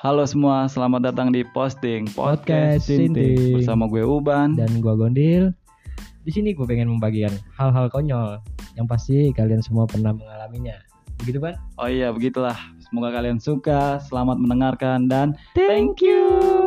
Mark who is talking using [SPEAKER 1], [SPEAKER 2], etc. [SPEAKER 1] Halo semua, selamat datang di Posting
[SPEAKER 2] Podcast Sinting.
[SPEAKER 1] bersama gue Uban.
[SPEAKER 2] dan gua Gondil. Di sini gue pengen membagikan hal-hal konyol yang pasti kalian semua pernah mengalaminya. Begitu kan?
[SPEAKER 1] Oh iya, begitulah. Semoga kalian suka, selamat mendengarkan dan thank you.